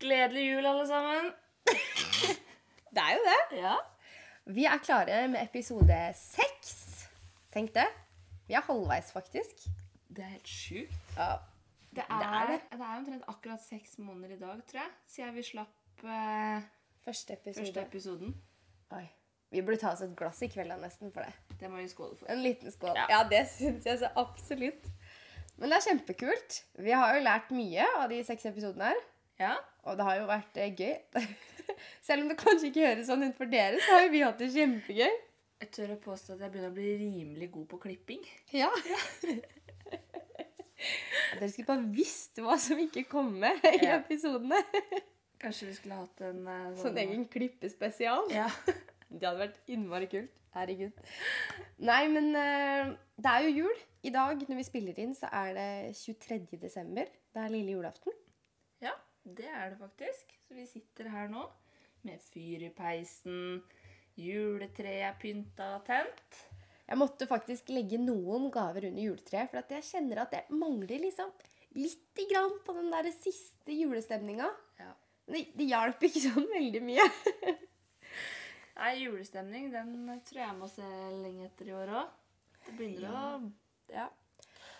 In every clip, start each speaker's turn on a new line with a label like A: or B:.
A: Gledelig jul, alle sammen.
B: Det er jo det.
A: Ja.
B: Vi er klare med episode seks. Tenk det. Vi er halvveis, faktisk.
A: Det er helt sjukt.
B: Ja.
A: Det er,
B: Det
A: det
B: er
A: er,
B: det.
A: omtrent akkurat seks måneder i dag, tror jeg, siden vi slapp eh,
B: Første episode.
A: første episoden.
B: Oi. Vi burde ta oss et glass i kveld da, nesten for det.
A: Det må vi skåle for.
B: En liten skål. Ja,
A: Ja.
B: det syns jeg så absolutt. Men det er kjempekult. Vi har jo lært mye av de seks episodene her.
A: Ja.
B: Og det har jo vært eh, gøy. Selv om det kanskje ikke høres sånn ut for dere, så har jo vi hatt det kjempegøy.
A: Jeg tør å påstå at jeg begynner å bli rimelig god på klipping.
B: Ja. Dere skulle bare visst hva som ikke kom med i
A: Ja.
B: episodene.
A: Kanskje vi skulle hatt en eh,
B: Sånn egen klippespesial.
A: Ja.
B: Det hadde vært innmari kult. Herregud. Nei, men eh, det er jo jul. I dag når vi spiller inn, så er det 23. desember. Det er lille julaften.
A: ja, det er det faktisk. Så vi sitter her nå med fyr i peisen, juletreet er pynta og tent.
B: Jeg måtte faktisk legge noen gaver under juletreet, for at jeg kjenner at jeg mangler liksom lite grann på den der siste julestemninga.
A: Ja.
B: Men det, det hjalp ikke sånn veldig mye.
A: Nei, julestemning, den tror jeg må se lenge etter i år òg. Det begynner å Ja.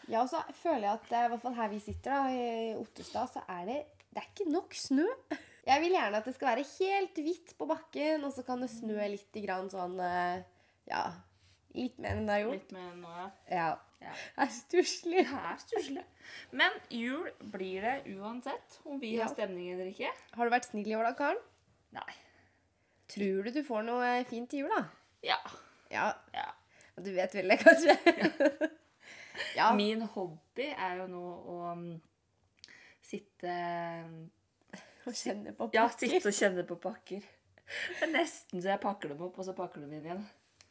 B: Ja, og så føler jeg at eh, i hvert fall her vi sitter, da, i Ottestad, så er det, det er ikke nok snø. Jeg vil gjerne at det skal være helt hvitt på bakken, og så kan det snø litt grann sånn eh, Ja, litt mer enn det har gjort.
A: Litt mer nå, ja.
B: Ja.
A: Ja.
B: Det er stusslig.
A: Det er stusslig. Men jul blir det uansett om vi
B: Ja.
A: har stemning eller ikke.
B: Har du vært snill i år, da, Karen?
A: Nei.
B: Tror du du får noe eh, fint til jul, da?
A: Ja.
B: Ja,
A: ja.
B: Du vet vel det, kanskje? Ja.
A: Min hobby er jo nå å mm, sitte um,
B: Å kjenne på
A: Ja,
B: pakker.
A: sitte og kjenne på pakker. Det er nesten så jeg pakker dem opp, og så pakker de inn igjen.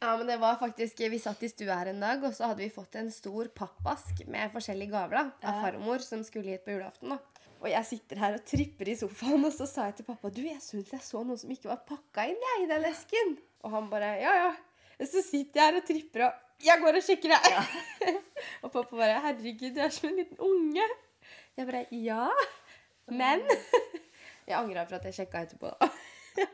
B: Ja, men det var faktisk, Vi satt i stua her en dag, og så hadde vi fått en stor pappask med forskjellige gaver da, av
A: Ja.
B: farmor som skulle hit på julaften. da. Og jeg sitter her og tripper i sofaen, og så sa jeg til pappa du, jeg syns jeg så noe som ikke var pakka inn jeg, i den esken. Og han bare ja, ja. Og Så sitter jeg her og tripper og jeg går og sjekker det. og pappa bare herregud, du er som en liten unge. Jeg bare ja, men Jeg angra for at jeg sjekka etterpå. da.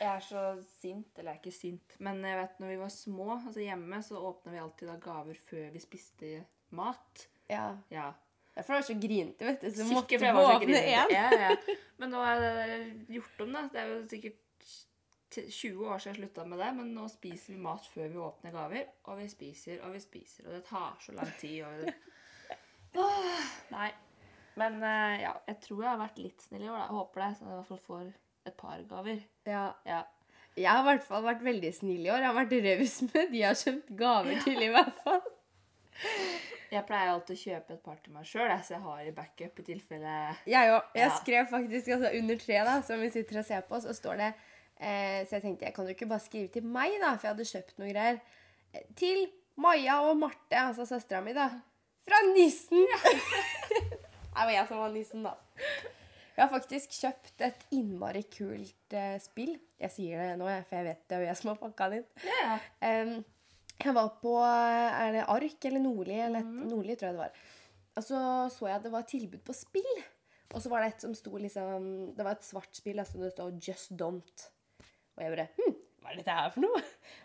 A: Jeg er så sint, eller jeg er ikke sint, men jeg vet når vi var små, altså hjemme, så åpna vi alltid da gaver før vi spiste mat.
B: Ja,
A: Ja.
B: Derfor var jeg så grinete, vet du. Så
A: Sikkert
B: måtte
A: for jeg
B: vi
A: var så
B: åpne
A: grinete.
B: én.
A: Ja, ja. Men nå er det der gjort om, da. Det er jo sikkert t- 20 år siden jeg slutta med det, men nå spiser vi mat før vi åpner gaver. Og vi spiser og vi spiser, og det tar så lang tid. Og det... Åh, nei. Men eh, ja, jeg tror jeg har vært litt snill i år, da. Jeg håper det, så jeg i hvert fall får et par gaver.
B: Ja.
A: Ja.
B: Jeg har i hvert fall vært veldig snill i år. Jeg har vært raus med de jeg har kjøpt gaver til, i hvert fall.
A: Jeg pleier alltid å kjøpe et par til meg sjøl, så jeg har i backup i tilfelle
B: Jeg òg. Jeg
A: Ja.
B: skrev faktisk altså, under treet, da, som vi sitter og ser på, så står det eh, Så jeg tenkte jeg kan jo ikke bare skrive til meg, da, for jeg hadde kjøpt noe greier. Eh, Til Maja og Marte, altså søstera mi, da. Fra nissen! det var jeg som var nissen, da. Jeg har faktisk kjøpt et innmari kult eh, spill. Jeg sier det nå, jeg, for jeg vet det er jo jeg som har pakka den inn.
A: ja.
B: Em, jeg var på Er det Ark eller Nordli? Eller et,
A: Mm.
B: Nordli, tror jeg det var. Og så så jeg at det var tilbud på spill. Og så var det et som sto liksom Det var et svart spill altså det stod 'Just Don't'. Og jeg bare hm, hva er dette her for noe?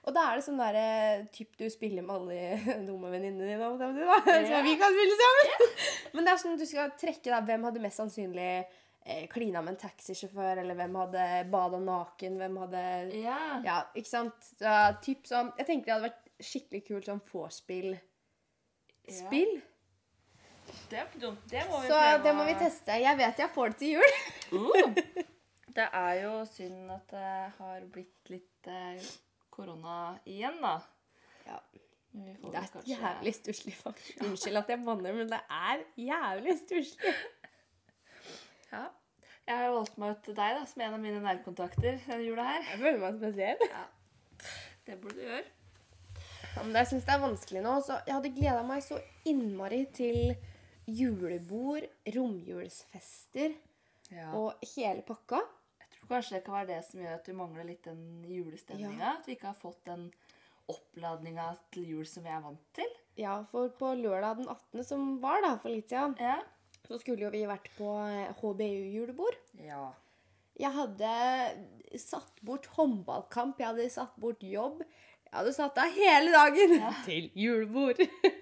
B: Og da er det sånn derre typ du spiller med alle dumme venninnene dine, holdt jeg på å si, da. Så
A: Ja.
B: vi kan spille sammen. Men det er sånn at du skal trekke da, hvem hadde mest sannsynlig eh, klina med en taxisjåfør, eller hvem hadde bada naken, hvem hadde
A: ja.
B: ja, ikke sant? Så, typ sånn, jeg tenker det hadde vært skikkelig kult sånn vorspiel. Spill.
A: Det er ikke dumt. Det må vi
B: Så
A: prøve
B: det
A: å-
B: må vi teste. Jeg vet jeg får det til jul.
A: Mm. Det er jo synd at det har blitt litt eh, korona igjen, da.
B: Ja,
A: Men vi får
B: det
A: vel
B: er
A: kanskje-
B: jævlig stusslig, faktisk. Unnskyld at jeg banner, men det er jævlig stusslig.
A: Ja. Jeg har valgt meg ut til deg da, som en av mine nærkontakter denne jula her.
B: Jeg føler meg spesiell.
A: Det burde du gjøre.
B: Ja, men det- jeg syns det er vanskelig nå. Så jeg hadde gleda meg så innmari til julebord, romjulsfester
A: Og
B: og hele pakka.
A: jeg tror kanskje det kan være det som gjør at vi mangler litt den julestemninga. At vi ikke har fått den oppladninga til jul som vi er vant til.
B: Ja, for på lørdag den 18. som var da for litt siden,
A: Ja.
B: Så skulle jo vi vært på eh, HBU-julebord.
A: Ja.
B: Jeg hadde satt bort håndballkamp, jeg hadde satt bort jobb. Jeg hadde satt av hele dagen til julebord.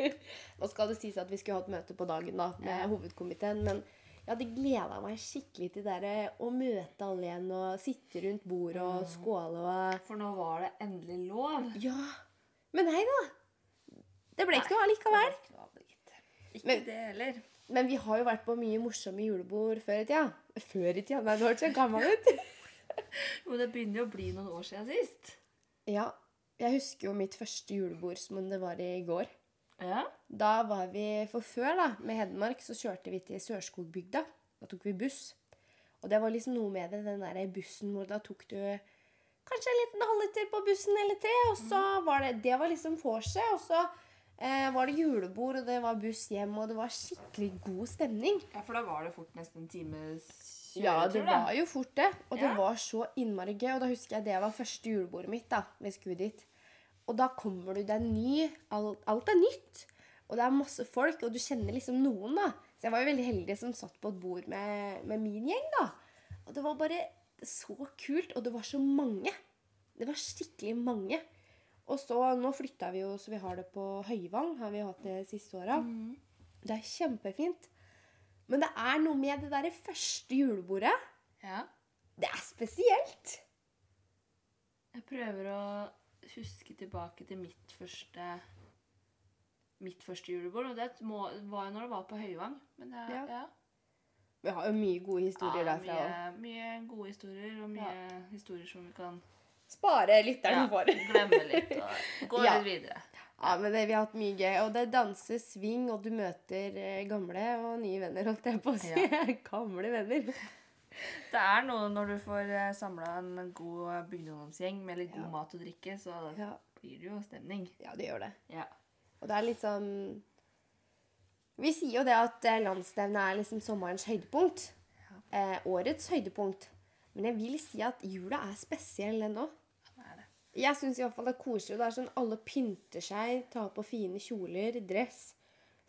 B: Nå skal det sies at vi skulle hatt møte på dagen da, med
A: Ja.
B: hovedkomiteen, men jeg hadde gleda meg skikkelig til det der, eh, å møte alle igjen og sitte rundt bordet og skåle og
A: For nå var det endelig lov.
B: Ja. Men nei da. Det ble ikke noe allikevel.
A: Ikke
B: Men-
A: det heller.
B: Men vi har jo vært på mye morsomme julebord før i tida. Før i tida? Nei, nå hørtes jeg gammel ut.
A: Jo, det begynner jo å bli noen år siden sist.
B: Ja. Jeg husker jo mitt første julebord som om det var i går.
A: Ja.
B: Da var vi For før, da, med Hedmark, så kjørte vi til Sørskogbygda. Da tok vi buss. Og det var liksom noe med det, den der bussen hvor da tok du kanskje en liten halvliter på bussen eller tre, og så var det Det var liksom vorset, og så eh, var det julebord, og det var buss hjem, og det var skikkelig god stemning.
A: ja, for da var det fort nesten en times
B: Ja, det
A: kjøretur, da.
B: var jo fort det. Og det
A: Ja.
B: var så innmari gøy. Og da husker jeg det var første julebordet mitt. da, vi skulle dit. Og da kommer du, det er ny, alt, alt er nytt. Og det er masse folk, og du kjenner liksom noen, da. Så jeg var jo veldig heldig som satt på et bord med, med min gjeng, da. Og det var bare så kult, og det var så mange. Det var skikkelig mange. Og så, nå flytta vi jo, så vi har det på Høyvang, har vi hatt det siste åra.
A: Mm.
B: Det er kjempefint. Men det er noe med det derre første julebordet.
A: Ja.
B: Det er spesielt.
A: Jeg prøver å huske tilbake til mitt første mitt første julebord. Og det må, var jo når det var på Høyvang. Men det,
B: Ja.
A: ja. Ja.
B: Vi har jo mye gode historier derfra.
A: mye,
B: også.
A: mye gode historier, og mye historier som vi kan
B: Spare lytterne
A: ja,
B: for.
A: glemme litt og gå
B: Ja.
A: litt videre.
B: Ja, men det, Vi har hatt mye gøy. Og det danses swing, og du møter eh, gamle og nye venner, holdt jeg på å si. gamle venner.
A: Det er noe når du får samla en god bygdeungdomsgjeng med litt god mat og drikke, så
B: Ja.
A: blir det jo stemning.
B: ja, det gjør det.
A: Ja.
B: Og det er litt sånn Vi sier jo det at eh, landsstevnet er liksom sommerens høydepunkt. Eh, årets høydepunkt. Men jeg vil si at jula er spesiell, den òg.
A: det er det.
B: Jeg syns iallfall det er koselig. og Det er sånn Alle pynter seg, tar på fine kjoler, dress.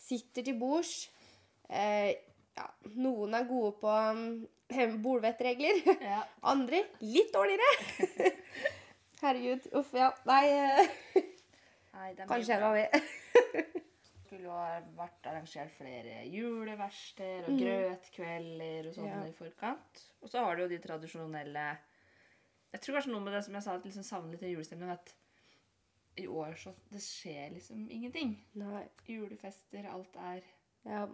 B: Sitter til bords. Eh, ja, noen er gode på um, bolvettregler.
A: Ja.
B: Andre litt dårligere. Herregud. Uff, ja. Nei, eh,
A: Nei, det er mye
B: kanskje en
A: bra.
B: av de.
A: skulle jo ha vært arrangert flere juleverksteder og grøtkvelder og sånn
B: Ja.
A: i forkant. Og så har du jo de tradisjonelle Jeg tror kanskje noe med det som jeg sa, at liksom savner litt den julestemningen, at i år så Det skjer liksom ingenting.
B: Nei.
A: Julefester, alt er
B: Ja,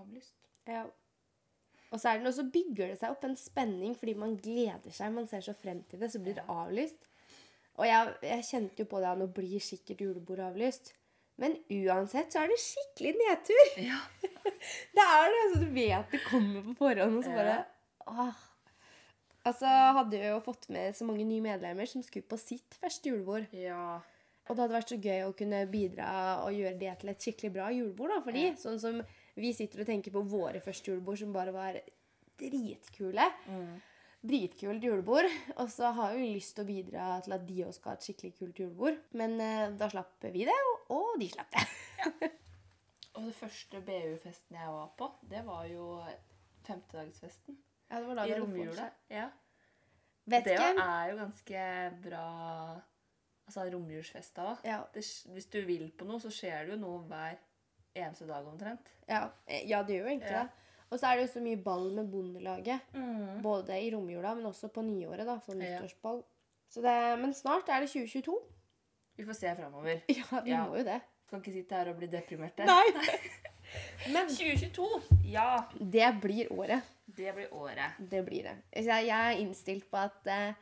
A: avlyst.
B: ja. Og så er det noe, så bygger det seg opp en spenning fordi man gleder seg. Man ser så frem til det, så blir det avlyst. Og jeg, jeg kjente jo på det at nå blir sikkert julebordet avlyst. Men uansett så er det skikkelig nedtur.
A: Ja.
B: Det er det, altså, du vet det kommer på forhånd, og så bare åh. Altså, hadde jeg jo fått med så mange nye medlemmer som skulle på sitt første julebord.
A: Ja.
B: Og det hadde vært så gøy å kunne bidra og gjøre det til et skikkelig bra julebord. da, fordi
A: Ja.
B: sånn som vi sitter og tenker på våre første julebord, som bare var dritkule.
A: Mm.
B: Dritkult julebord. Og så har vi lyst til å bidra til at de også skal ha et skikkelig kult julebord. Men eh, da slapp vi det, og, og de slapp det.
A: Og det første BU-festen jeg var på, det var jo femtedagsfesten.
B: Ja, det var
A: I romjula. Ja.
B: Vet
A: Det
B: ikke.
A: er jo ganske bra Altså romjulsfest da
B: Ja.
A: Det sk- Hvis du vil på noe, så skjer det jo noe hver eneste dag omtrent.
B: Ja, eh, ja det gjør jo egentlig
A: Ja.
B: det. Og så er det jo så mye ball med Bondelaget.
A: Mm.
B: Både i romjula, men også på nyåret, da. Sånn
A: Ja.
B: nyttårsball. Så det, men snart er det 2022.
A: Vi får se framover.
B: Ja, vi
A: Ja.
B: må jo det.
A: Kan ikke sitte her og bli deprimerte.
B: Nei. Men
A: 2022! Ja!
B: det blir året.
A: Det blir året.
B: Det blir det. Så Jeg, jeg er innstilt på at eh,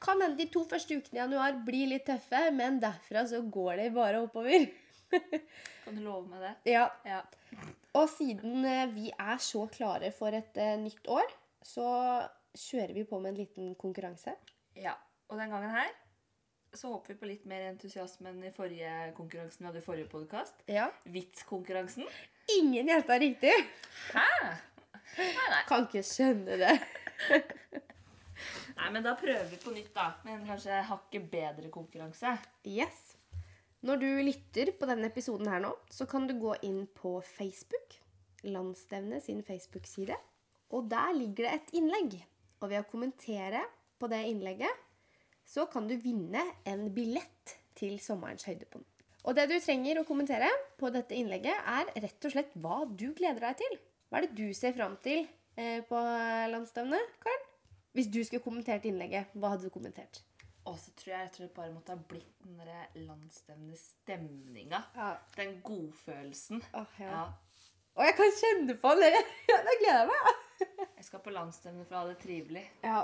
B: kan hende de to første ukene i januar blir litt tøffe, men derfra så går det bare oppover.
A: Kan du love meg det?
B: Ja.
A: Ja.
B: Og siden eh, vi er så klare for et eh, nytt år, så kjører vi på med en liten konkurranse.
A: ja. Og den gangen her så håper vi på litt mer entusiasme enn i forrige konkurransen vi hadde i forrige podkast.
B: Ja.
A: Vitskonkurransen.
B: Ingen gjetta riktig!
A: Hæ? Nei, nei.
B: Kan ikke skjønne det.
A: nei, men da prøver vi på nytt, da. Med en kanskje hakket bedre konkurranse.
B: Yes. Når du lytter på denne episoden her nå, så kan du gå inn på Facebook Landsstevne sin Facebook-side. Og der ligger det et innlegg. Og ved å kommentere på det innlegget, så kan du vinne en billett til sommerens høydepunkt. Og det du trenger å kommentere på dette innlegget, er rett og slett hva du gleder deg til. Hva er det du ser fram til eh, på landsstevnet, Karen? Hvis du skulle kommentert innlegget, hva hadde du kommentert?
A: Og så tror jeg rett og slett bare måtte ha blitt den der landsstevne stemninga.
B: Ja.
A: Den godfølelsen.
B: Åh, ja.
A: Ja.
B: Og jeg kan kjenne på det! Da gleder jeg meg.
A: Jeg skal på landsstevne for å ha det trivelig.
B: Ja,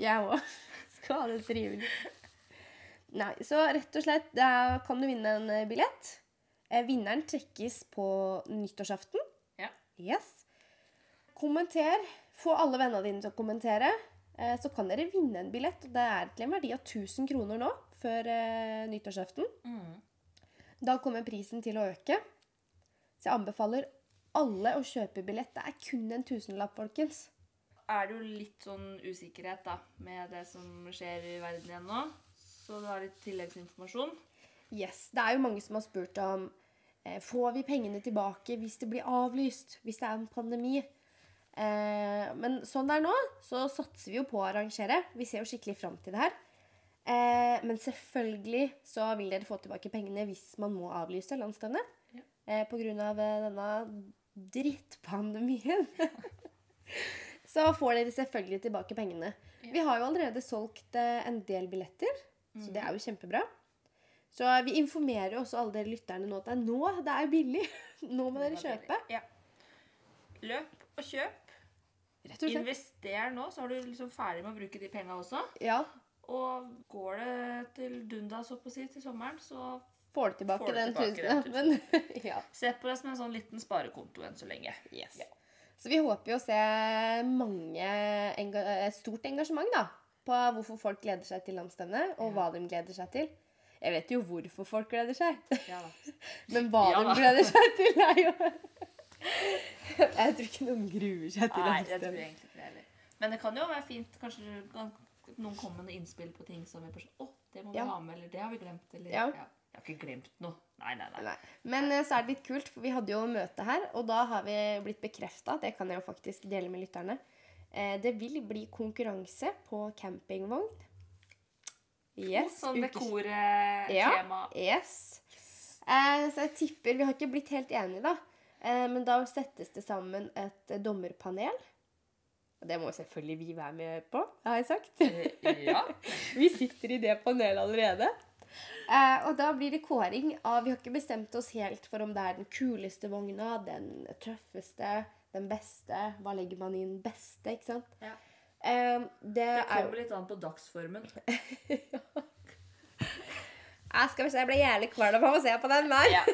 B: jeg òg. Skal ha det trivelig. Nei, så rett og slett da kan du vinne en eh, billett. Eh, Vinneren trekkes på nyttårsaften.
A: Ja.
B: Yes. Kommenter. Få alle vennene dine til å kommentere. Eh, Så kan dere vinne en billett. og Det er til en verdi av 1000 kroner nå før eh, nyttårsaften.
A: Mm.
B: Da kommer prisen til å øke. Så jeg anbefaler alle å kjøpe billett. Det er kun en tusenlapp, folkens.
A: er det jo litt sånn usikkerhet da, med det som skjer i verden igjen nå. Så det var litt tilleggsinformasjon.
B: Yes, Det er jo mange som har spurt om eh, får vi pengene tilbake hvis det blir avlyst, hvis det er en pandemi. Eh, men sånn det er nå, så satser vi jo på å arrangere. Vi ser jo skikkelig fram til det her. Eh, men selvfølgelig så vil dere få tilbake pengene hvis man må avlyse landsstevnet.
A: Ja.
B: Eh, på grunn av eh, denne drittpandemien. så får dere selvfølgelig tilbake pengene.
A: Ja.
B: Vi har jo allerede solgt eh, en del billetter, så det er jo kjempebra. Så vi informerer jo også alle dere lytterne nå at det er nå det er billig. Nå må dere kjøpe.
A: Ja. Løp og kjøp.
B: Rett og slett.
A: Invester nå, så er du liksom ferdig med å bruke de penga også.
B: Ja,
A: Og går det til dundas opp å si, til sommeren, så
B: Får du tilbake
A: Får du
B: den
A: tilbake den
B: tusen. Men ja.
A: se på det som en sånn liten sparekonto enn så lenge. Ja.
B: Så vi håper jo å se mange enga eh, stort engasjement da, på hvorfor folk gleder seg til landsstevnet, og
A: Ja.
B: hva de gleder seg til. Jeg vet jo hvorfor folk gleder seg,
A: Ja da.
B: men hva
A: Ja da.
B: de gleder seg til, er jo Jeg tror ikke noen gruer seg
A: Nei,
B: til
A: det tror
B: landsstevnet.
A: jeg egentlig ikke det heller. Men det kan jo være fint, kanskje du kan- noen kommer med noen innspill på ting som vi bare sånn, Å, det må vi
B: Ja.
A: ha med, eller det har vi glemt, eller
B: Ja.
A: Jeg har ikke glemt noe. Nei, nei, nei.
B: Nei. Men eh, så er det litt kult, for vi hadde jo møte her, og da har vi blitt bekrefta, det kan jeg jo faktisk dele med lytterne, eh, det vil bli konkurranse på campingvogn. Yes.
A: sånn
B: ukes-
A: dekortema.
B: Yes. Eh, så jeg tipper Vi har ikke blitt helt enige, da. Eh, men da settes det sammen et eh, dommerpanel. Og det må jo selvfølgelig vi være med på, har jeg sagt.
A: Eh, Ja.
B: Vi sitter i det panelet allerede. Eh, og da blir det kåring av Vi har ikke bestemt oss helt for om det er den kuleste vogna, den tøffeste, den beste. Hva legger man i den beste, ikke sant?
A: Ja.
B: Eh, det
A: Det
B: er jo
A: kommer litt an på dagsformen.
B: Ja, skal vi se, jeg ble jævlig kvalm av å se på den der.
A: Ja.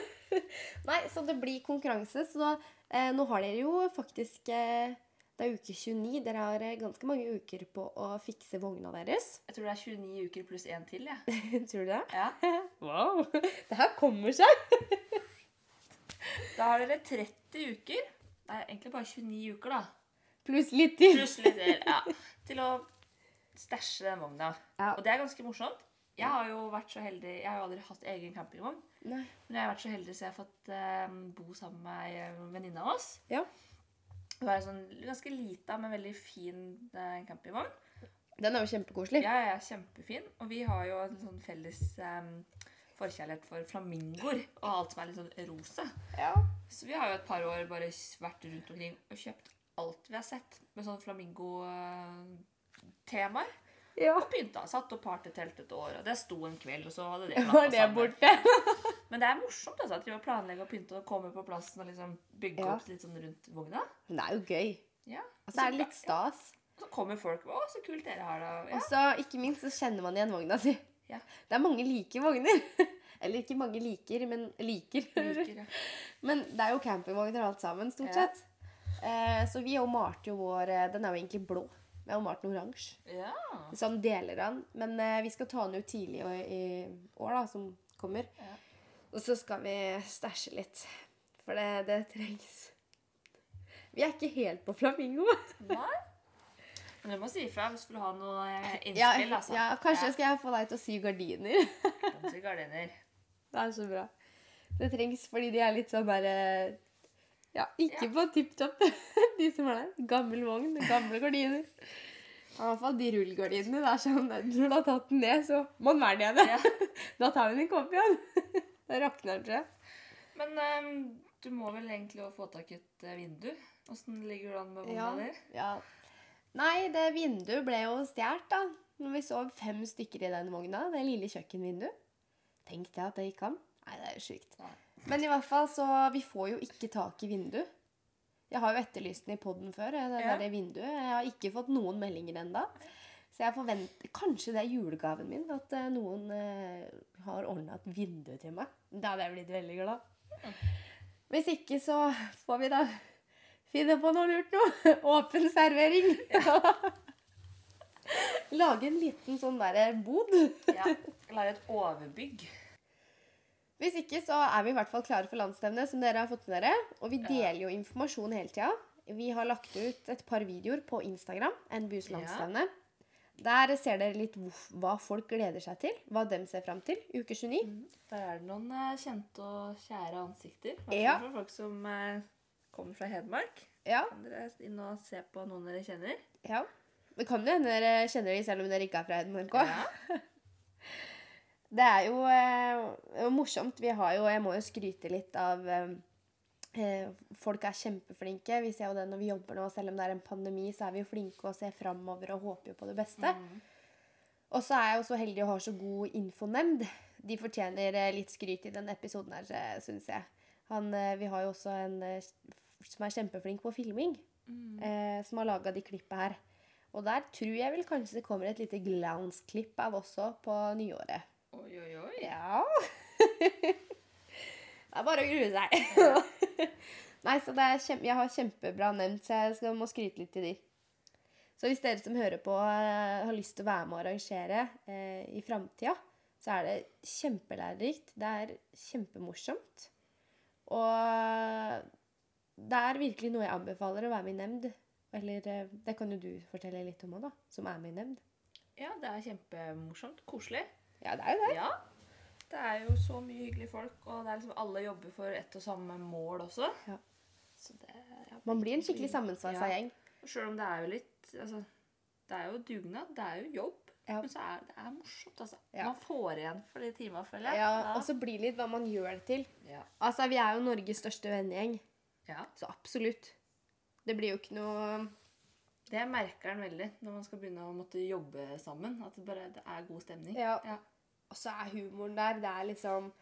B: Nei, så det blir konkurranse. Så da, eh, nå har dere jo faktisk eh, Det er uke 29. Dere har eh, ganske mange uker på å fikse vogna deres.
A: Jeg tror det er 29 uker pluss én til, jeg.
B: Tror du det?
A: Ja.
B: Wow! Det her kommer seg.
A: Da har dere 30 uker. Det er egentlig bare 29 uker, da.
B: Pluss litt til.
A: Pluss litt til. Ja. Til å stæsje den vogna.
B: Ja.
A: Og det er ganske morsomt. Jeg har jo vært så heldig Jeg har jo aldri hatt egen campingvogn.
B: Nei.
A: Men jeg har vært så heldig så jeg har fått eh, bo sammen med ei eh, venninne av oss.
B: Ja.
A: Hun har en sånn ganske lita, men veldig fin eh, campingvogn.
B: Den er jo kjempekoselig.
A: Ja, jeg er kjempefin. Og vi har jo en sånn felles em, forkjærlighet for flamingoer og alt som er litt sånn rosa.
B: Ja.
A: Så vi har jo et par år bare s- vært rundt omkring og kjøpt alt vi har sett med sånn eh, flamingo-temaer.
B: ja.
A: Og pynta. Satt opp partytelt et år, og det sto en kveld, og så hadde det klappa
B: Var det
A: sammen.
B: borte?
A: Men det er morsomt altså, at de må planlegge og pynte og komme på plassen og liksom bygge
B: Ja.
A: opp litt sånn rundt vogna.
B: Men det er jo gøy.
A: Ja.
B: Og så er det litt stas.
A: Så kommer folk og 'Å, så kult dere har det'.
B: Og
A: Ja.
B: så, ikke minst, så kjenner man igjen vogna si.
A: Ja.
B: Det er mange like vogner. Eller ikke mange liker, men liker.
A: Liker, ja.
B: Men det er jo campingvogner alt sammen, stort
A: Ja.
B: sett. Eh, så vi og Marte jo vår eh, Den er jo egentlig blå. Vi har Marte den oransje.
A: ja.
B: Sånn deler han. Men eh, vi skal ta den ut tidlig i, i år, da, som kommer.
A: Ja.
B: Og så skal vi stæsje litt. For det, det trengs. Vi er ikke helt på flamingo.
A: Nei. Men du må si ifra hvis du vil ha noe eh,
B: Ja,
A: innspill, altså.
B: ja, kanskje skal jeg få deg til å sy gardiner.
A: Ja, kanskje gardiner.
B: Det er så bra. Det trengs fordi de er litt sånn der eh, Ja, ikke på tipp topp, de som er der. Gammel vogn, gamle gardiner. I hvert fall de rullgardinene. Det er sånn, Når du har tatt den ned, så må den være nede.
A: Ja.
B: Da tar vi den ikke opp igjen. Da rakner den, tror jeg.
A: Men ehm, du må vel egentlig også få tak i et eh, vindu? Åssen ligger du an med vogna
B: Ja.
A: der?
B: Ja. Nei, det vinduet ble jo stjålet, da. Når vi sov fem stykker i den vogna. Det lille kjøkkenvinduet. Tenkte jeg at det gikk an. Nei, det er jo sjukt.
A: Nei.
B: Men i hvert fall, så Vi får jo ikke tak i vindu. Jeg har jo etterlyst den i poden før, eh, det
A: Ja.
B: der vinduet. Jeg har ikke fått noen meldinger ennå. Så jeg forventer Kanskje det er julegaven min, at eh, noen eh, har ordna et vindu til meg. Da hadde jeg blitt veldig glad. Hvis ikke, så får vi da finne på noe lurt nå. Åpen servering. Lage en liten sånn derre bod.
A: Ja. Lage et overbygg.
B: Hvis ikke, så er vi i hvert fall klare for landsstevnet, som dere har fått med dere. Og vi
A: Ja.
B: deler jo informasjon hele tida. Vi har lagt ut et par videoer på Instagram. NBUs landsstevne. Der ser dere litt hvorf- hva folk gleder seg til. Hva dem ser fram til. Uke 29.
A: Der er det noen eh, kjente og kjære ansikter. I hvert fall
B: Ja.
A: for folk som eh, kommer fra Hedmark.
B: Ja.
A: Kan dere inn og se på noen dere kjenner?
B: ja. Det kan jo hende dere kjenner de selv om dere ikke er fra Hedmark òg.
A: Ja.
B: Det er jo eh, morsomt. Vi har jo, jeg må jo skryte litt av eh, eh, Folk er kjempeflinke. Vi ser jo det når vi jobber nå. Selv om det er en pandemi, så er vi jo flinke og ser framover og håper jo på det beste. Og så er jeg jo så heldig å ha så god infonemnd. De fortjener eh, litt skryt i den episoden her, syns jeg. Han, eh, vi har jo også en eh, som er kjempeflink på filming, eh, som har laga de klippa her. Og der tror jeg vel kanskje det kommer et lite glance-klipp av også på nyåret.
A: Oi, oi, oi.
B: Ja. det er bare å grue seg. Nei, så det er kjem... Jeg har kjempebra nevnt, så jeg skal... må skryte litt til de. Så hvis dere som hører på eh, har lyst til å være med og arrangere eh, i framtida, så er det kjempelærerikt. Det er kjempemorsomt. Og det er virkelig noe jeg anbefaler å være med i nemnd. Eller eh, det kan jo du fortelle litt om òg, da. Som er med i nemnd.
A: Ja, det er kjempemorsomt. Koselig.
B: Ja, det er jo det.
A: Ja. Det er jo så mye hyggelige folk, og det er liksom alle jobber for ett og samme mål også.
B: Ja.
A: Så det, ja,
B: Man blir en skikkelig sammensveisa
A: Ja.
B: gjeng.
A: Sjøl om det er jo litt altså, Det er jo dugnad, det er jo jobb.
B: Ja.
A: Men så er det er morsomt, altså.
B: Ja.
A: Man får igjen for de timene, føler jeg.
B: Ja, altså. og så blir det litt hva man gjør det til.
A: ja.
B: Altså, Vi er jo Norges største vennegjeng,
A: ja.
B: så absolutt. Det blir jo ikke noe
A: Det merker en veldig når man skal begynne å måtte jobbe sammen. At det bare det er god stemning.
B: Ja. Og så er humoren der. Det er liksom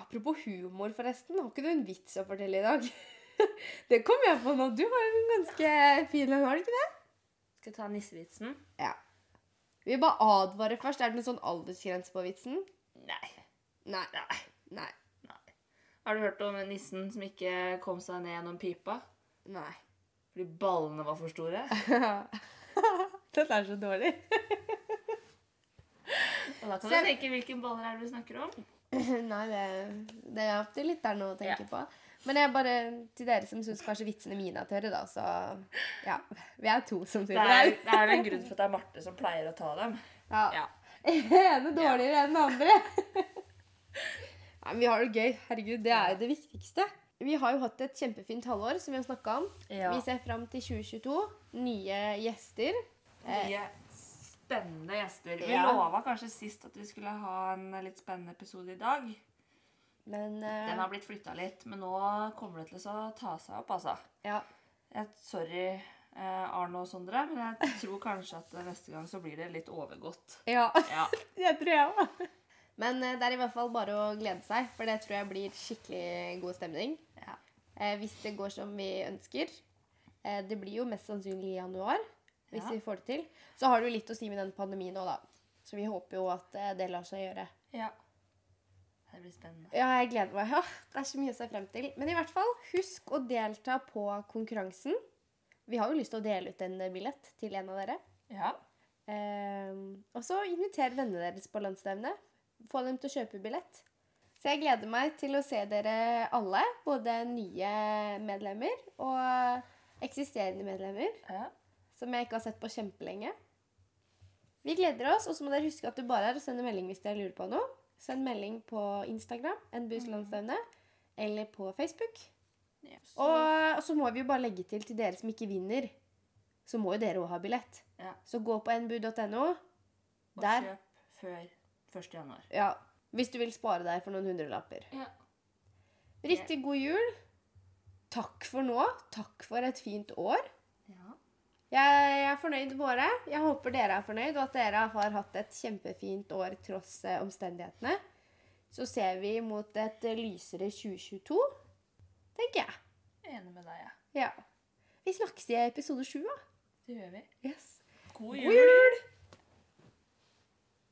B: Apropos humor, forresten. Har ikke du en vits å fortelle i dag? det kom jeg på nå. Du var jo en ganske fin en, har du ikke det?
A: Skal jeg ta nissevitsen?
B: Ja. Vi bare advarer først. Er det noen sånn aldersgrense på vitsen?
A: Nei.
B: Nei.
A: Nei.
B: Nei.
A: Nei. Har du hørt om nissen som ikke kom seg ned gjennom pipa?
B: Nei.
A: Fordi ballene var for store?
B: Den er så dårlig.
A: Og da kan
B: Se-
A: du tenke hvilken baller er det du snakker om.
B: Nei, det, det er opp til lytteren å tenke på. Men jeg bare, til dere som syns kanskje vitsene mine er tørre, da, så Ja. Vi er to som
A: Det
B: syns
A: er,
B: det.
A: det er vel en grunn for at det er Marte som pleier å ta dem.
B: Ja.
A: Ja.
B: ene dårligere enn den andre. Nei, men vi har det gøy. Herregud, det er jo det viktigste. Vi har jo hatt et kjempefint halvår, som vi har snakka om.
A: Ja.
B: Vi ser fram til 2022. Nye gjester.
A: Mye spennende gjester. Vi
B: Eh. Ja.
A: lova kanskje sist at vi skulle ha en litt spennende episode i dag.
B: Men eh,
A: Den har blitt flytta litt, men nå kommer det til å ta seg opp, altså.
B: ja.
A: Jeg, sorry, eh, Arne og Sondre, men jeg tror kanskje at neste gang så blir det litt overgått.
B: ja.
A: Ja.
B: Det tror jeg òg. Men eh, det er i hvert fall bare å glede seg, for det tror jeg blir skikkelig god stemning.
A: ja.
B: Eh, hvis det går som vi ønsker. Eh, det blir jo mest sannsynlig i januar. Hvis
A: Ja.
B: vi får det til. Så har det jo litt å si med den pandemien nå, da. Så vi håper jo at eh, det lar seg gjøre.
A: ja. Det blir spennende.
B: Ja, jeg gleder meg. Ja, det er så mye å se frem til. Men i hvert fall, husk å delta på konkurransen. Vi har jo lyst til å dele ut en eh, billett til en av dere.
A: Ja.
B: Eh, og så inviter vennene deres på landsstevne. Få dem til å kjøpe billett. Så jeg gleder meg til å se dere alle, både nye medlemmer og eksisterende medlemmer,
A: ja.
B: som jeg ikke har sett på kjempelenge. Vi gleder oss, og så må dere huske at det bare er å sende melding hvis dere lurer på noe. Send melding på Instagram, en buss landsstevne, eller på Facebook.
A: Yes.
B: Og, og så må vi jo bare legge til til dere som ikke vinner, så må jo dere òg ha billett.
A: Ja.
B: Så gå på nbu.no.
A: Og
B: Der.
A: kjøp før 1. januar.
B: Ja, hvis du vil spare deg for noen hundrelapper.
A: Ja.
B: Riktig god jul. Takk for nå. Takk for et fint år.
A: ja.
B: Jeg jeg er fornøyd med året. Jeg håper dere er fornøyd, og at dere har hatt et kjempefint år tross eh, omstendighetene. Så ser vi mot et eh, lysere 2022, tenker jeg.
A: Jeg er Enig med deg, jeg. Ja.
B: Ja. Vi snakkes i episode sju, da.
A: Det gjør vi.
B: Yes.
A: God
B: God jul!